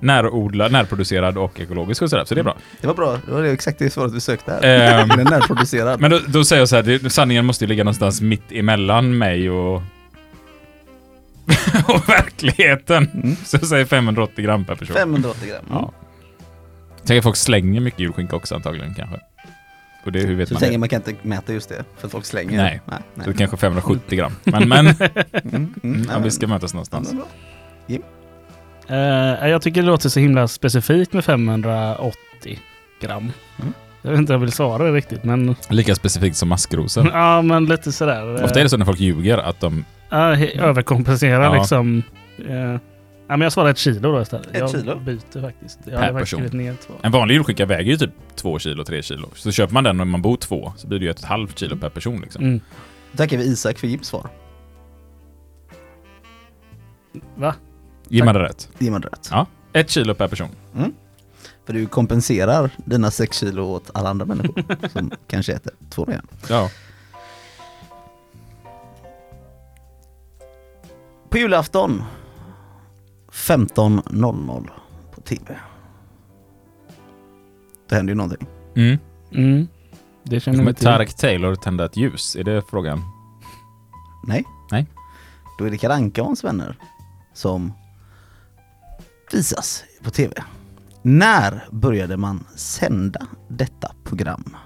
[SPEAKER 2] närodlad, närproducerad och ekologisk och sådär, så det är bra.
[SPEAKER 4] Det var bra, det var det exakt det svaret vi sökte här.
[SPEAKER 2] Ehm.
[SPEAKER 4] Den är närproducerad.
[SPEAKER 2] Men då, då säger jag så här, det, sanningen måste ju ligga någonstans mitt emellan mig och, och verkligheten.
[SPEAKER 4] Mm.
[SPEAKER 2] Så jag säger 580 gram per person.
[SPEAKER 4] 580 gram.
[SPEAKER 2] Ja. Tänk att folk slänger mycket julskinka också antagligen kanske. Och det, hur vet
[SPEAKER 4] Så
[SPEAKER 2] man
[SPEAKER 4] tänker
[SPEAKER 2] det?
[SPEAKER 4] jag, man kan inte mäta just det, för att folk slänger.
[SPEAKER 2] Nej.
[SPEAKER 4] nej, nej.
[SPEAKER 2] Så det kanske är 570 gram. Men, men
[SPEAKER 4] Mm, mm,
[SPEAKER 2] mm, ja,
[SPEAKER 4] nej,
[SPEAKER 2] vi ska mötas
[SPEAKER 4] men-
[SPEAKER 2] någonstans.
[SPEAKER 4] ja, men bra.
[SPEAKER 3] Eh, jag tycker det låter så himla specifikt med 580 gram.
[SPEAKER 4] Mm.
[SPEAKER 3] Jag vet inte om jag vill svara det riktigt, men
[SPEAKER 2] Lika specifikt som maskrosor.
[SPEAKER 3] ja, men lite sådär. eh,
[SPEAKER 2] Ofta är det så när folk ljuger att de
[SPEAKER 3] Ja, he- överkompensera
[SPEAKER 2] Ja.
[SPEAKER 3] liksom. Eh, ja, men jag svarar ett kilo då istället.
[SPEAKER 4] Ett
[SPEAKER 3] jag
[SPEAKER 4] kilo?
[SPEAKER 3] byter faktiskt. Jag
[SPEAKER 2] Per
[SPEAKER 3] har faktiskt
[SPEAKER 2] person.
[SPEAKER 3] skrivit ner två.
[SPEAKER 2] En vanlig julskinka väger ju typ 2 kilo, 3 kilo. Så köper man den när man bor två så blir det ju ett halvt kilo per person liksom.
[SPEAKER 3] Mm.
[SPEAKER 4] Tackar vi Isak för Jims svar.
[SPEAKER 2] Ger man det rätt?
[SPEAKER 4] Jim hade rätt.
[SPEAKER 2] Ett kilo per person.
[SPEAKER 4] För du kompenserar dina sex kilo åt alla andra människor som kanske äter två redan.
[SPEAKER 2] Ja.
[SPEAKER 4] På julafton 15.00 på TV. Det händer ju någonting.
[SPEAKER 2] Mm.
[SPEAKER 3] Mm. Det känner
[SPEAKER 2] Kommer
[SPEAKER 3] vi till.
[SPEAKER 2] Tareq Taylor tända ett ljus? Är det frågan?
[SPEAKER 4] Nej.
[SPEAKER 2] Nej.
[SPEAKER 4] Då är det Kalle Anka och hans vänner som visas på TV. När började man sända detta program?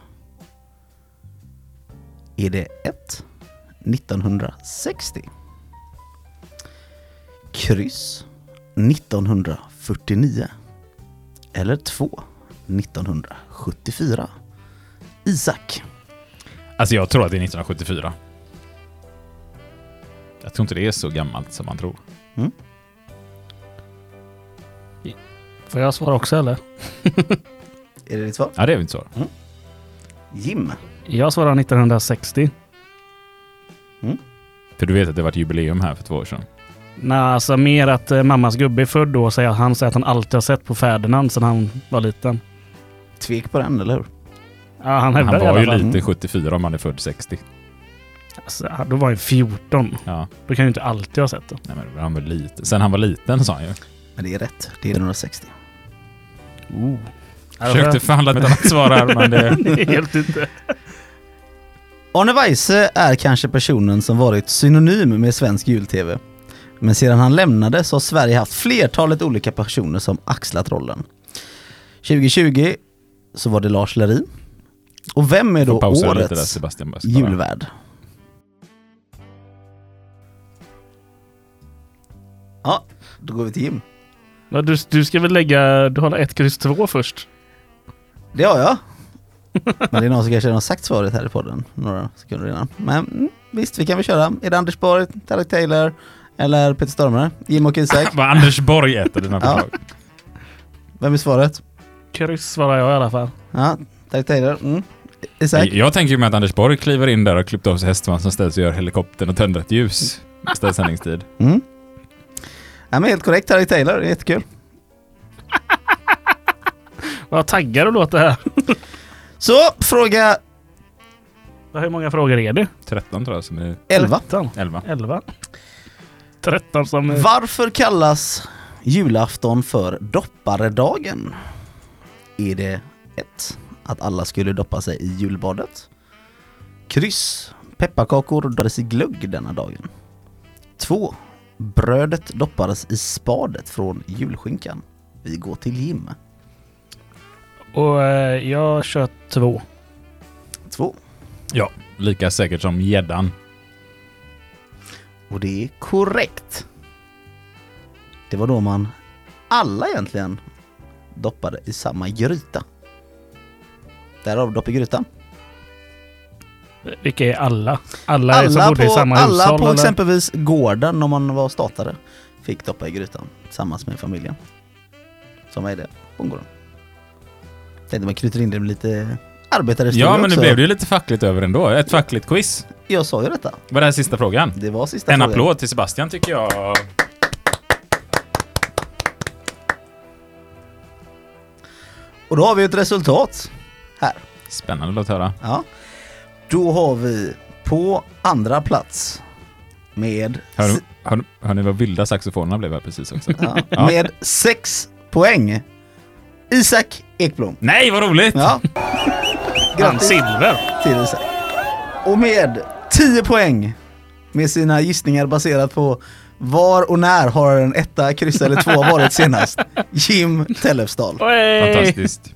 [SPEAKER 4] Är det 1. 1960? Kryss 1949? Eller 2. 1974? Isak?
[SPEAKER 2] Alltså jag tror att det är 1974. Jag tror inte det är så gammalt som man tror.
[SPEAKER 3] Får jag svara också eller?
[SPEAKER 4] Är det ditt svar?
[SPEAKER 2] Ja, det är väl inte så.
[SPEAKER 4] Jim?
[SPEAKER 3] Jag svarar 1960.
[SPEAKER 2] För du vet att det var ett jubileum här för två år sedan.
[SPEAKER 3] Nej, alltså mer att eh, mammas gubbe är född då och säger att han säger att han alltid har sett på Ferdinand sedan han var liten.
[SPEAKER 4] Tvek på den, eller hur?
[SPEAKER 3] Ja, han hävdar
[SPEAKER 2] Han
[SPEAKER 3] det i alla
[SPEAKER 2] var ju
[SPEAKER 3] fall.
[SPEAKER 2] lite 74 om han är född 60.
[SPEAKER 3] Alltså, då var han ju 14.
[SPEAKER 2] Ja,
[SPEAKER 3] Då kan ju inte alltid ha sett det.
[SPEAKER 2] nej men då var han var liten. Sen han var liten sa han ju.
[SPEAKER 4] Men det är rätt, det är 160.
[SPEAKER 2] Försökte fan låta något svara här, men det...
[SPEAKER 3] det är helt inte.
[SPEAKER 4] Arne Weise är kanske personen som varit synonym med svensk jul-tv. Men sedan han lämnade så har Sverige haft flertalet olika personer som axlat rollen. 2020 så var det Lars Lerin. Och vem är då
[SPEAKER 2] Får pausa lite där
[SPEAKER 4] årets
[SPEAKER 2] Sebastian. Bara.
[SPEAKER 4] julvärd? Ja, då går vi till Jim.
[SPEAKER 3] Ja, Du, du ska väl lägga... Du håller ett kryss två först.
[SPEAKER 4] Det har jag. Men det är någon som kanske redan har sagt svaret här i podden några sekunder innan. Men mm, visst, vi kan väl köra. Är det Anders Borg, Tarek Taylor eller Peter Stormare? Jim och Isak?
[SPEAKER 2] Vad Anders Borg äter dina
[SPEAKER 4] Ja.
[SPEAKER 2] förslag.
[SPEAKER 4] Vem är svaret?
[SPEAKER 3] Kryss svarar jag i alla fall.
[SPEAKER 4] Ja, Tarek Taylor. Mm. Isak?
[SPEAKER 2] Jag tänker ju med att Anders Borg kliver in där och klippt av sig hästvansen ställs och gör helikoptern och tänder ett ljus. Istället sändningstid.
[SPEAKER 4] Mm. Ja, men helt korrekt, Tarek Taylor. Det är Jättekul.
[SPEAKER 3] Vad taggar du låter här.
[SPEAKER 4] Så, fråga
[SPEAKER 3] Hur många frågor är det?
[SPEAKER 2] 13 tror jag som är
[SPEAKER 4] 11.
[SPEAKER 3] 13.
[SPEAKER 2] 11.
[SPEAKER 3] 11. 13 som... är-
[SPEAKER 4] Varför kallas julafton för dopparedagen? Är det ett, Att alla skulle doppa sig i julbadet? Kryss. Pepparkakor doppades i glögg denna dagen. 2. Brödet doppades i spadet från julskinkan. Vi går till Jim.
[SPEAKER 3] Och eh, jag kör två.
[SPEAKER 4] 2.
[SPEAKER 2] Ja, lika säkert som gäddan.
[SPEAKER 4] Och det är korrekt. Det var då man alla egentligen doppade i samma gryta. Därav dopp i grytan.
[SPEAKER 3] Vilka är alla? Alla, är som
[SPEAKER 4] alla
[SPEAKER 3] bodde
[SPEAKER 4] på,
[SPEAKER 3] i samma
[SPEAKER 4] alla
[SPEAKER 3] hushåll?
[SPEAKER 4] på
[SPEAKER 3] eller?
[SPEAKER 4] exempelvis gården om man var statare fick doppa i grytan tillsammans med familjen. Som är det, bondgården. Tänkte man knyter in det med lite arbetarhistoria
[SPEAKER 2] Ja, men nu
[SPEAKER 4] också.
[SPEAKER 2] blev det ju lite fackligt över ändå. Ett fackligt quiz.
[SPEAKER 4] Jag sa ju detta.
[SPEAKER 2] Var det här sista frågan?
[SPEAKER 4] Det var sista
[SPEAKER 2] En
[SPEAKER 4] frågan.
[SPEAKER 2] applåd till Sebastian tycker jag.
[SPEAKER 4] Och då har vi ett resultat här.
[SPEAKER 2] Spännande att höra.
[SPEAKER 4] Ja. Då har vi på andra plats med,
[SPEAKER 2] Hör, hör, hör ni vad vilda saxofonerna blev här precis också?
[SPEAKER 4] ja,
[SPEAKER 2] Ja.
[SPEAKER 4] med sex poäng Isak Ekblom.
[SPEAKER 2] Nej, vad roligt!
[SPEAKER 4] Ja.
[SPEAKER 3] Fan,
[SPEAKER 4] Grattis
[SPEAKER 3] silver!
[SPEAKER 4] till Isak. Och med 10 poäng med sina gissningar baserat på var och när har en etta, kryss eller två varit senast? Jim Tellefsdal.
[SPEAKER 3] Oj!
[SPEAKER 2] Fantastiskt.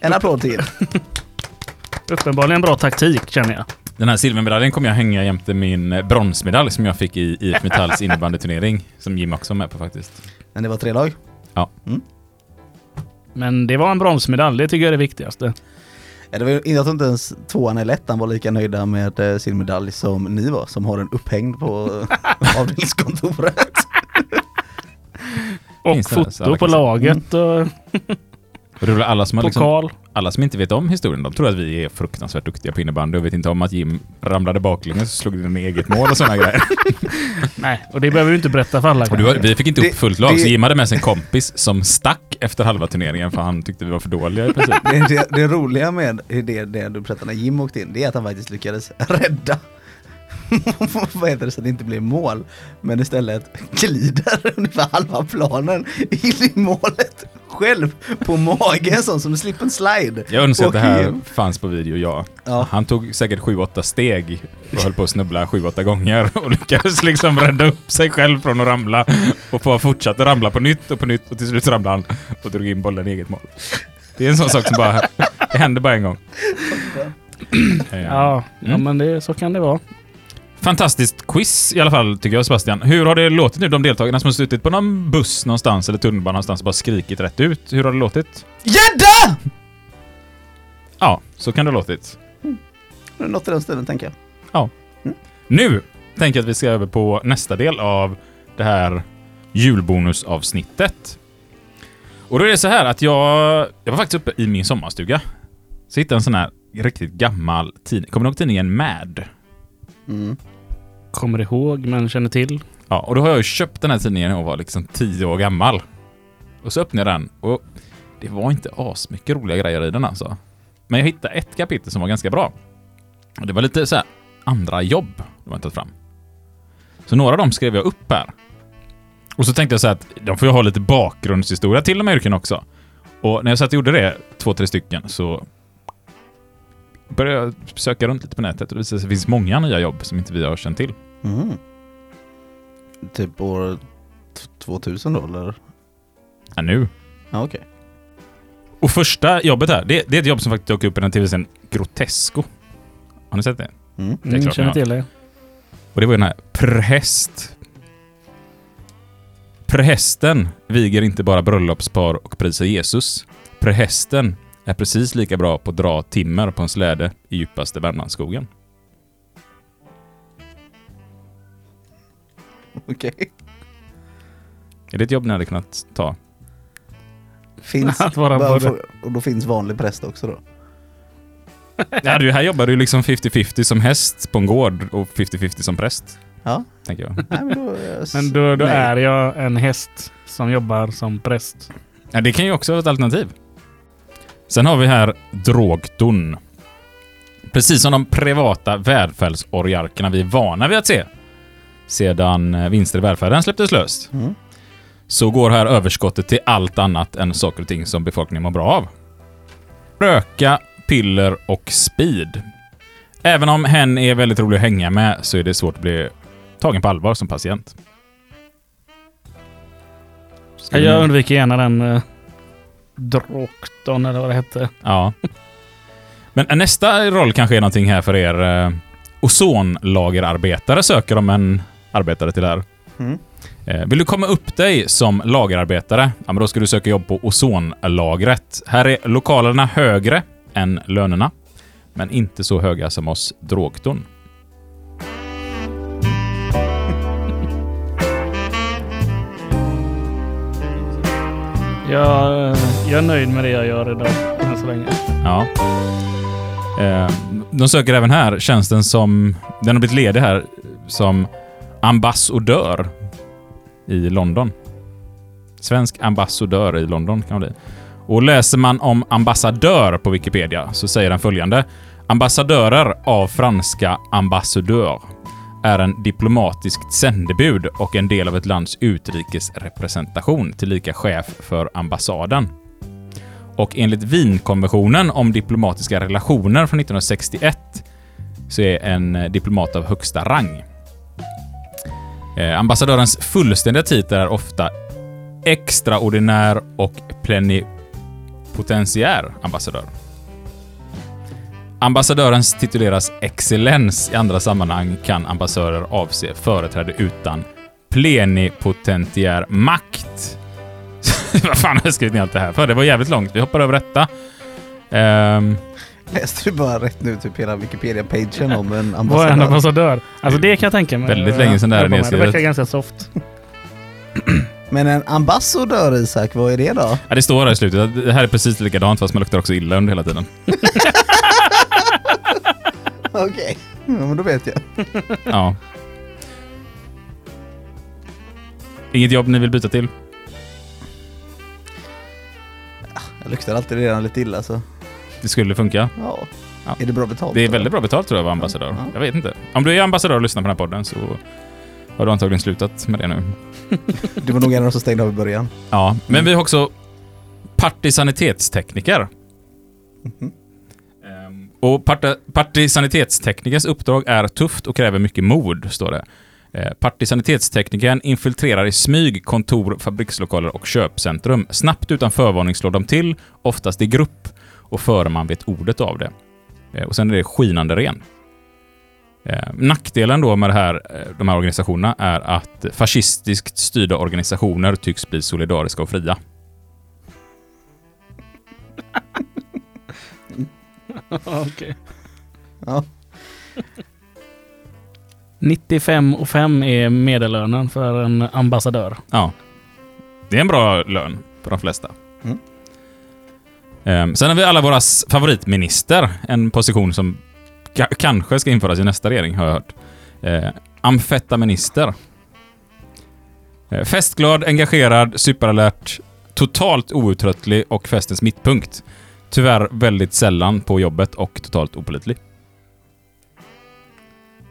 [SPEAKER 4] En applåd till.
[SPEAKER 3] Uppenbarligen bra taktik känner jag.
[SPEAKER 2] Den här silvermedaljen kommer jag hänga jämte min eh, bronsmedalj som jag fick i IF Metalls innebandyturnering. Som Jim också var med på faktiskt.
[SPEAKER 4] Men det var tre lag.
[SPEAKER 3] Men det var en bronsmedalj, det tycker jag är det viktigaste.
[SPEAKER 4] Ja, det var, ju- jag tror inte ens tvåan eller ettan var lika nöjda med eh, sin medalj som ni var, som har den upphängd på eh, avdelningskontoret.
[SPEAKER 3] Och
[SPEAKER 2] Finns det så alla
[SPEAKER 3] foto på
[SPEAKER 2] kan se.
[SPEAKER 3] laget och
[SPEAKER 2] Och det är väl alla som, har Mm. liksom,
[SPEAKER 3] pokal.
[SPEAKER 2] alla som inte vet om historien, de tror att vi är fruktansvärt duktiga på innebandy och vet inte om att Jim ramlade baklänges och slog in i eget mål och sådana grejer.
[SPEAKER 3] Nej, och det behöver du inte berätta för alla.
[SPEAKER 2] Och du, vi fick inte upp
[SPEAKER 4] Det-
[SPEAKER 2] fullt lag,
[SPEAKER 4] det-
[SPEAKER 2] så Jim hade med sig en kompis som stack efter halva turneringen för han tyckte vi var för dåliga i princip.
[SPEAKER 4] det, det, det roliga med det, det du berättade när Jim åkte in, det är att han faktiskt lyckades rädda. Vad heter det så att det inte blev mål? Men istället glider ungefär halva planen in i målet själv på magen sån som en slip and slide.
[SPEAKER 2] Jag önskar att det här
[SPEAKER 4] Jim-
[SPEAKER 2] fanns på video, ja.
[SPEAKER 4] Ja.
[SPEAKER 2] Han tog säkert 7-8 steg och höll på att snubbla 7-8 gånger och lyckades liksom rädda upp sig själv från att ramla och bara fortsatte ramla på nytt och på nytt och till slut ramlade han och drog in bollen i eget mål. Det är en sån sak som bara det händer bara en gång. Eh,
[SPEAKER 3] Ja,
[SPEAKER 2] Mm.
[SPEAKER 3] ja men det, så kan det vara.
[SPEAKER 2] Fantastiskt quiz i alla fall tycker jag Sebastian. Hur har det låtit nu? De deltagarna som har suttit på någon buss någonstans eller tunnelbana någonstans och bara skrikit rätt ut. Hur har det låtit?
[SPEAKER 4] Gädda!
[SPEAKER 2] Ja, så kan det ha låtit.
[SPEAKER 4] Något i den stilen tänker jag.
[SPEAKER 2] Nu tänker jag att vi ska över på nästa del av det här julbonusavsnittet. Och då är det så här att jag, jag var faktiskt uppe i min sommarstuga. Så hittade jag en sån här riktigt gammal tidning. Kommer du ihåg tidningen Mad?
[SPEAKER 4] Mm.
[SPEAKER 3] Kommer ihåg, men känner till.
[SPEAKER 2] Ja, och då har jag ju köpt den här tidningen när jag var liksom tio år gammal. Och så öppnade jag den och det var inte asmycket roliga grejer i den alltså. Men jag hittade ett kapitel som var ganska bra. Och det var lite så här andra jobb de har tagit fram. Så några av dem skrev jag upp här. Och så tänkte jag så här att de får ju ha lite bakgrundshistoria till de här yrkena också. Och när jag satt och gjorde det, två, tre stycken, så började jag söka runt lite på nätet och det visade sig att det finns många nya jobb som inte vi har känt till.
[SPEAKER 4] Mm. Typ år t- 2000 då eller?
[SPEAKER 2] Ja, nu.
[SPEAKER 4] Ja okej.
[SPEAKER 2] Och första jobbet här, det, det är ett jobb som faktiskt dök upp i den här tv-serien Grotesco. Har ni sett det?
[SPEAKER 4] Mm.
[SPEAKER 2] är
[SPEAKER 3] Mm,
[SPEAKER 2] klart
[SPEAKER 3] känner
[SPEAKER 2] ni har.
[SPEAKER 3] till det.
[SPEAKER 2] Och det var ju den här präst. Prästen viger inte bara bröllopspar och prisar Jesus. Prästen är precis lika bra på att dra timmer på en släde i djupaste Värmlandsskogen.
[SPEAKER 4] Okej.
[SPEAKER 2] Är det ett jobb ni hade kunnat ta?
[SPEAKER 4] Finns...
[SPEAKER 3] Att vara
[SPEAKER 4] Bara
[SPEAKER 3] både-
[SPEAKER 4] för- Och då finns vanlig präst också då?
[SPEAKER 2] Ja, du, här jobbar du liksom 50-50 som häst på en gård och 50-50 som präst.
[SPEAKER 4] Ja.
[SPEAKER 2] Tänker jag.
[SPEAKER 4] Nej, men då, eh, s-
[SPEAKER 3] Men då, då
[SPEAKER 4] nej.
[SPEAKER 3] är jag en häst som jobbar som präst.
[SPEAKER 2] Ja, det kan ju också vara ett alternativ. Sen har vi här drogdon. Precis som de privata välfärdsorgarkerna vi är vana vid att se sedan eh, vinster i välfärden släpptes löst,
[SPEAKER 4] Mm.
[SPEAKER 2] så går här överskottet till allt annat än saker och ting som befolkningen mår bra av. Röka, piller och speed. Även om hen är väldigt rolig att hänga med så är det svårt att bli tagen på allvar som patient. Ska vi-
[SPEAKER 3] Jag undviker gärna den eh, Drokton eller vad det hette.
[SPEAKER 2] Ja. Men eh, nästa roll kanske är någonting här för er. eh, Ozonlagerarbetare söker om en arbetare till det här.
[SPEAKER 4] Mm.
[SPEAKER 2] Eh, Vill du komma upp dig som lagerarbetare? Ja, men då ska du söka jobb på ozonlagret. Här är lokalerna högre än lönerna, men inte så höga som hos Drogton.
[SPEAKER 3] Jag, eh, jag är nöjd med det jag gör idag än så länge.
[SPEAKER 2] Ja. Eh, De söker även här tjänsten som... Den har blivit ledig här som ambassadör i London. Svensk ambassadör i London kan man bli. Och läser man om ambassadör på Wikipedia så säger den följande. Ambassadörer av franska ambassadör är en diplomatiskt sändebud och en del av ett lands utrikesrepresentation, tillika chef för ambassaden och enligt Wienkonventionen om diplomatiska relationer från 1961 så är en eh, diplomat av högsta rang. Eh, ambassadörens fullständiga titel är ofta extraordinär och plenipotentiär ambassadör. Ambassadörens tituleras excellens. I andra sammanhang kan ambassadörer avse företräde utan plenipotentiär makt. Vad fan har jag skrivit ner allt det här för? Det var jävligt långt. Vi hoppar över detta. Ehm,
[SPEAKER 4] läste du bara rätt nu typ hela Wikipedia-pagen om en
[SPEAKER 3] Vad är en
[SPEAKER 4] ambassadör.
[SPEAKER 3] ambassadör? Alltså det kan jag tänka mig.
[SPEAKER 2] Väldigt länge sedan det här
[SPEAKER 3] Jag kommer ihåg. Det
[SPEAKER 2] nedskrivet.
[SPEAKER 3] verkar ganska soft.
[SPEAKER 4] Men en ambassadör Isak, vad är det då?
[SPEAKER 2] Ja, det står här i slutet. att Det här är precis likadant fast man luktar också illa under hela tiden.
[SPEAKER 4] Okej, ja, men då vet jag.
[SPEAKER 2] Ja. Inget jobb ni vill byta till?
[SPEAKER 4] Jag luktar alltid redan lite illa så
[SPEAKER 2] Det skulle funka.
[SPEAKER 4] ja.
[SPEAKER 2] Ja.
[SPEAKER 4] Är det bra betalt?
[SPEAKER 2] Det är
[SPEAKER 4] då?
[SPEAKER 2] väldigt bra betalt tror jag att vara ambassadör.
[SPEAKER 4] Ja.
[SPEAKER 2] Jag vet inte. Om du är ambassadör och lyssnar på den här podden så har du antagligen slutat med det nu.
[SPEAKER 4] Det var nog en av de som stängde av i början.
[SPEAKER 2] Ja, men vi har också partisanitetstekniker.
[SPEAKER 4] Mhm.
[SPEAKER 2] Ehm, Och parta, partisanitetsteknikers uppdrag är tufft och kräver mycket mod, står det. Eh, Partisanitetsteknikern infiltrerar i smyg kontor, fabrikslokaler och köpcentrum. Snabbt utan förvarning slår de till, oftast i grupp, och före man vet ordet av det. Eh, Och sen är det skinande ren. Eh, Nackdelen då med det här, eh, de här organisationerna är att fascistiskt styrda organisationer tycks bli solidariska och fria.
[SPEAKER 3] Okej.
[SPEAKER 4] Ja.
[SPEAKER 3] 95 och 5 är medellönen för en ambassadör.
[SPEAKER 2] Ja. Det är en bra lön för de flesta.
[SPEAKER 4] Mm.
[SPEAKER 2] Ehm, Sen har vi alla våra s- favoritminister. En position som ka- kanske ska införas i nästa regering, har jag hört. Eh, Amfetaminister. Eh, Festglad, engagerad, superalert, totalt outtröttlig och festens mittpunkt. Tyvärr väldigt sällan på jobbet och totalt opolitlig.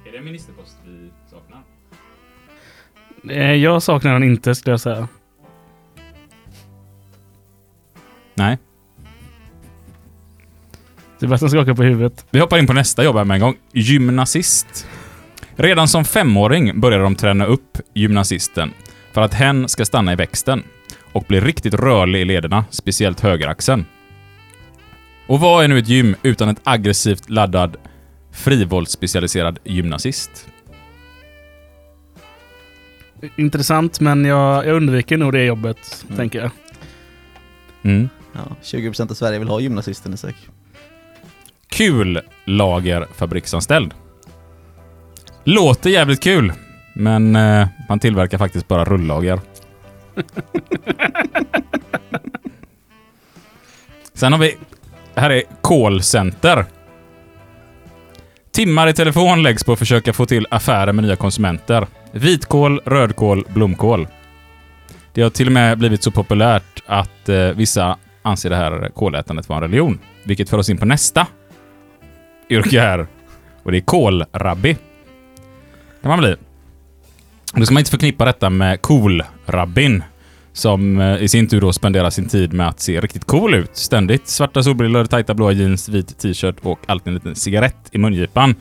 [SPEAKER 2] Är det en ministerpost vi saknar?
[SPEAKER 3] Eh, Jag saknar den inte skulle jag säga.
[SPEAKER 2] Nej.
[SPEAKER 3] Sebastian skakar på huvudet.
[SPEAKER 2] Vi hoppar in på nästa jobb här med en gång. Gymnasist. Redan som femåring började de träna upp gymnasisten för att hen ska stanna i växten och bli riktigt rörlig i lederna, speciellt högeraxeln. Och vad är nu ett gym utan ett aggressivt laddad, frivoltsspecialiserad gymnasist?
[SPEAKER 3] Intressant men jag, jag undviker nog det jobbet, tänker jag.
[SPEAKER 2] Mm.
[SPEAKER 4] Ja, 20% av Sverige vill ha gymnasisten Isak.
[SPEAKER 2] Kul lagerfabriksanställd. Låter jävligt kul, men eh, man tillverkar faktiskt bara rullager. Sen har vi... Här är callcenter. Timmar i telefon läggs på att försöka få till affärer med nya konsumenter. Vitkål, rödkål, blomkål. Det har till och med blivit så populärt att eh, vissa anser det här kålätandet vara en religion. Vilket för oss in på nästa yrke här. Och det är kålrabbi. Kan man bli. Och Då ska man inte förknippa detta med cool-rabbin. Som eh, i sin tur då spenderar sin tid med att se riktigt cool ut. Ständigt svarta solbrillor, tajta blåa jeans, vit t-shirt och alltid en liten cigarett i mungipan.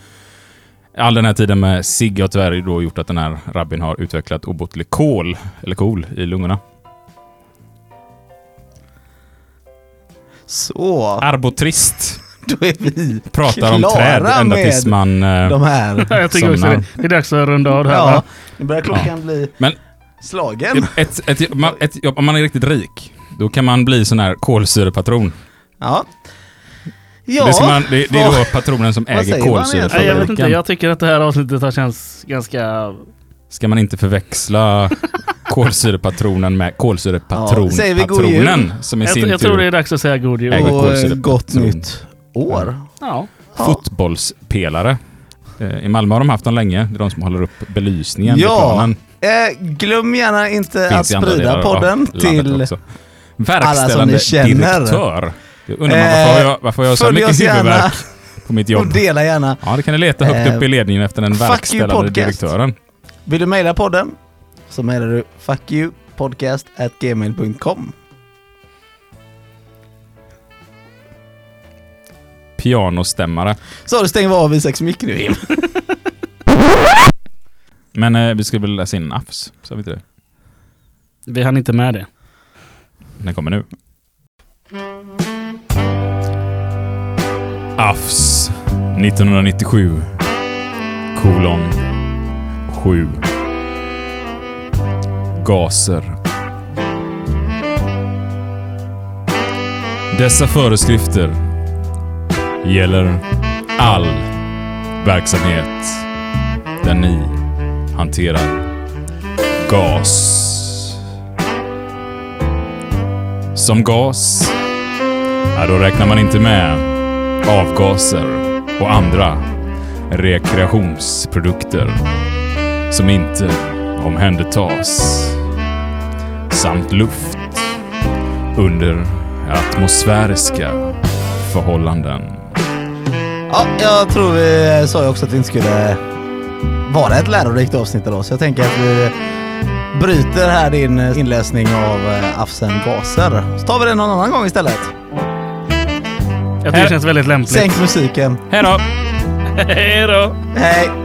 [SPEAKER 2] All den här tiden med cigg har tyvärr då gjort att den här rabbin har utvecklat obotlig kol, eller kol, i lungorna.
[SPEAKER 4] Så,
[SPEAKER 2] Arbotrist
[SPEAKER 4] då är vi
[SPEAKER 2] Ah. pratar om
[SPEAKER 4] Klara
[SPEAKER 2] träd ända
[SPEAKER 4] med
[SPEAKER 2] tills man... eh,
[SPEAKER 4] de här.
[SPEAKER 3] Jag tycker också
[SPEAKER 2] Somnar.
[SPEAKER 3] det. Det är dags att runda av det här
[SPEAKER 4] Ja,
[SPEAKER 3] va?
[SPEAKER 4] nu börjar klockan bli
[SPEAKER 2] Men-
[SPEAKER 4] slagen.
[SPEAKER 2] Typ Ett, ett, ett, man- ett, om man är riktigt rik, då kan man bli sån här kolsyrepatron.
[SPEAKER 4] Ja. Ja,
[SPEAKER 2] Det, ska man, det, det är då patronen som
[SPEAKER 4] Vad säger
[SPEAKER 2] äger
[SPEAKER 4] man
[SPEAKER 3] Nej, jag vet inte,
[SPEAKER 2] kolsyrefabriken.
[SPEAKER 3] jag tycker att det här avsnittet har känts ganska...
[SPEAKER 2] Ska man inte förväxla kolsyrepatronen med
[SPEAKER 4] Ja, säger vi god
[SPEAKER 2] kolsyrepatronpatronen som i
[SPEAKER 3] Jag,
[SPEAKER 2] sin
[SPEAKER 3] jag
[SPEAKER 2] tur
[SPEAKER 3] tror det är dags att säga god jul.
[SPEAKER 2] Äger-
[SPEAKER 4] och eh,
[SPEAKER 2] kolsyra-
[SPEAKER 4] gott
[SPEAKER 2] patron.
[SPEAKER 4] nytt år.
[SPEAKER 3] Ja.
[SPEAKER 4] Ja.
[SPEAKER 2] fotbollspelare. Eh, I Malmö har de haft dem länge. Det är de som håller upp belysningen
[SPEAKER 4] Ja,
[SPEAKER 2] i planen.
[SPEAKER 4] Eh, glöm gärna inte
[SPEAKER 2] Finns
[SPEAKER 4] att
[SPEAKER 2] i andra delar
[SPEAKER 4] sprida
[SPEAKER 2] av
[SPEAKER 4] podden
[SPEAKER 2] landet
[SPEAKER 4] till...
[SPEAKER 2] också. Verkställande
[SPEAKER 4] känner.
[SPEAKER 2] direktör. Jag undrar man varför har jag, varför har jag så
[SPEAKER 4] följ
[SPEAKER 2] mycket
[SPEAKER 4] oss gärna.
[SPEAKER 2] huvudvärk på mitt
[SPEAKER 4] Och
[SPEAKER 2] jobb?
[SPEAKER 4] dela gärna.
[SPEAKER 2] Ja, det kan ni leta högt
[SPEAKER 4] Eh,
[SPEAKER 2] upp i ledningen efter den
[SPEAKER 4] fuck you
[SPEAKER 2] verkställande
[SPEAKER 4] podcast.
[SPEAKER 2] direktören.
[SPEAKER 4] Vill du mejla podden så mejlar du fuckyoupodcast.gmail.com.
[SPEAKER 2] Pianostämmare.
[SPEAKER 4] Så du stänger vi av Isaks mick nu Jim.
[SPEAKER 2] Men eh, vi skulle väl läsa in en AFS, sa vi inte det?
[SPEAKER 3] Vi hann inte med det.
[SPEAKER 2] Den kommer nu. AFS 1997 kolon 7 Gaser Dessa föreskrifter gäller all verksamhet där ni hanterar gas. Som gas, ja, då räknar man inte med avgaser och andra rekreationsprodukter som inte omhändertas samt luft under atmosfäriska förhållanden.
[SPEAKER 4] Ja, jag tror vi eh, sa ju också att det inte skulle vara ett lärorikt avsnitt idag, så jag tänker att vi bryter här din inläsning av eh, Afsen Gaser. Så tar vi det någon annan gång istället.
[SPEAKER 3] Jag tycker det känns väldigt lämpligt.
[SPEAKER 4] Sänk musiken.
[SPEAKER 2] Hej då!
[SPEAKER 3] Hej då!
[SPEAKER 4] Hej!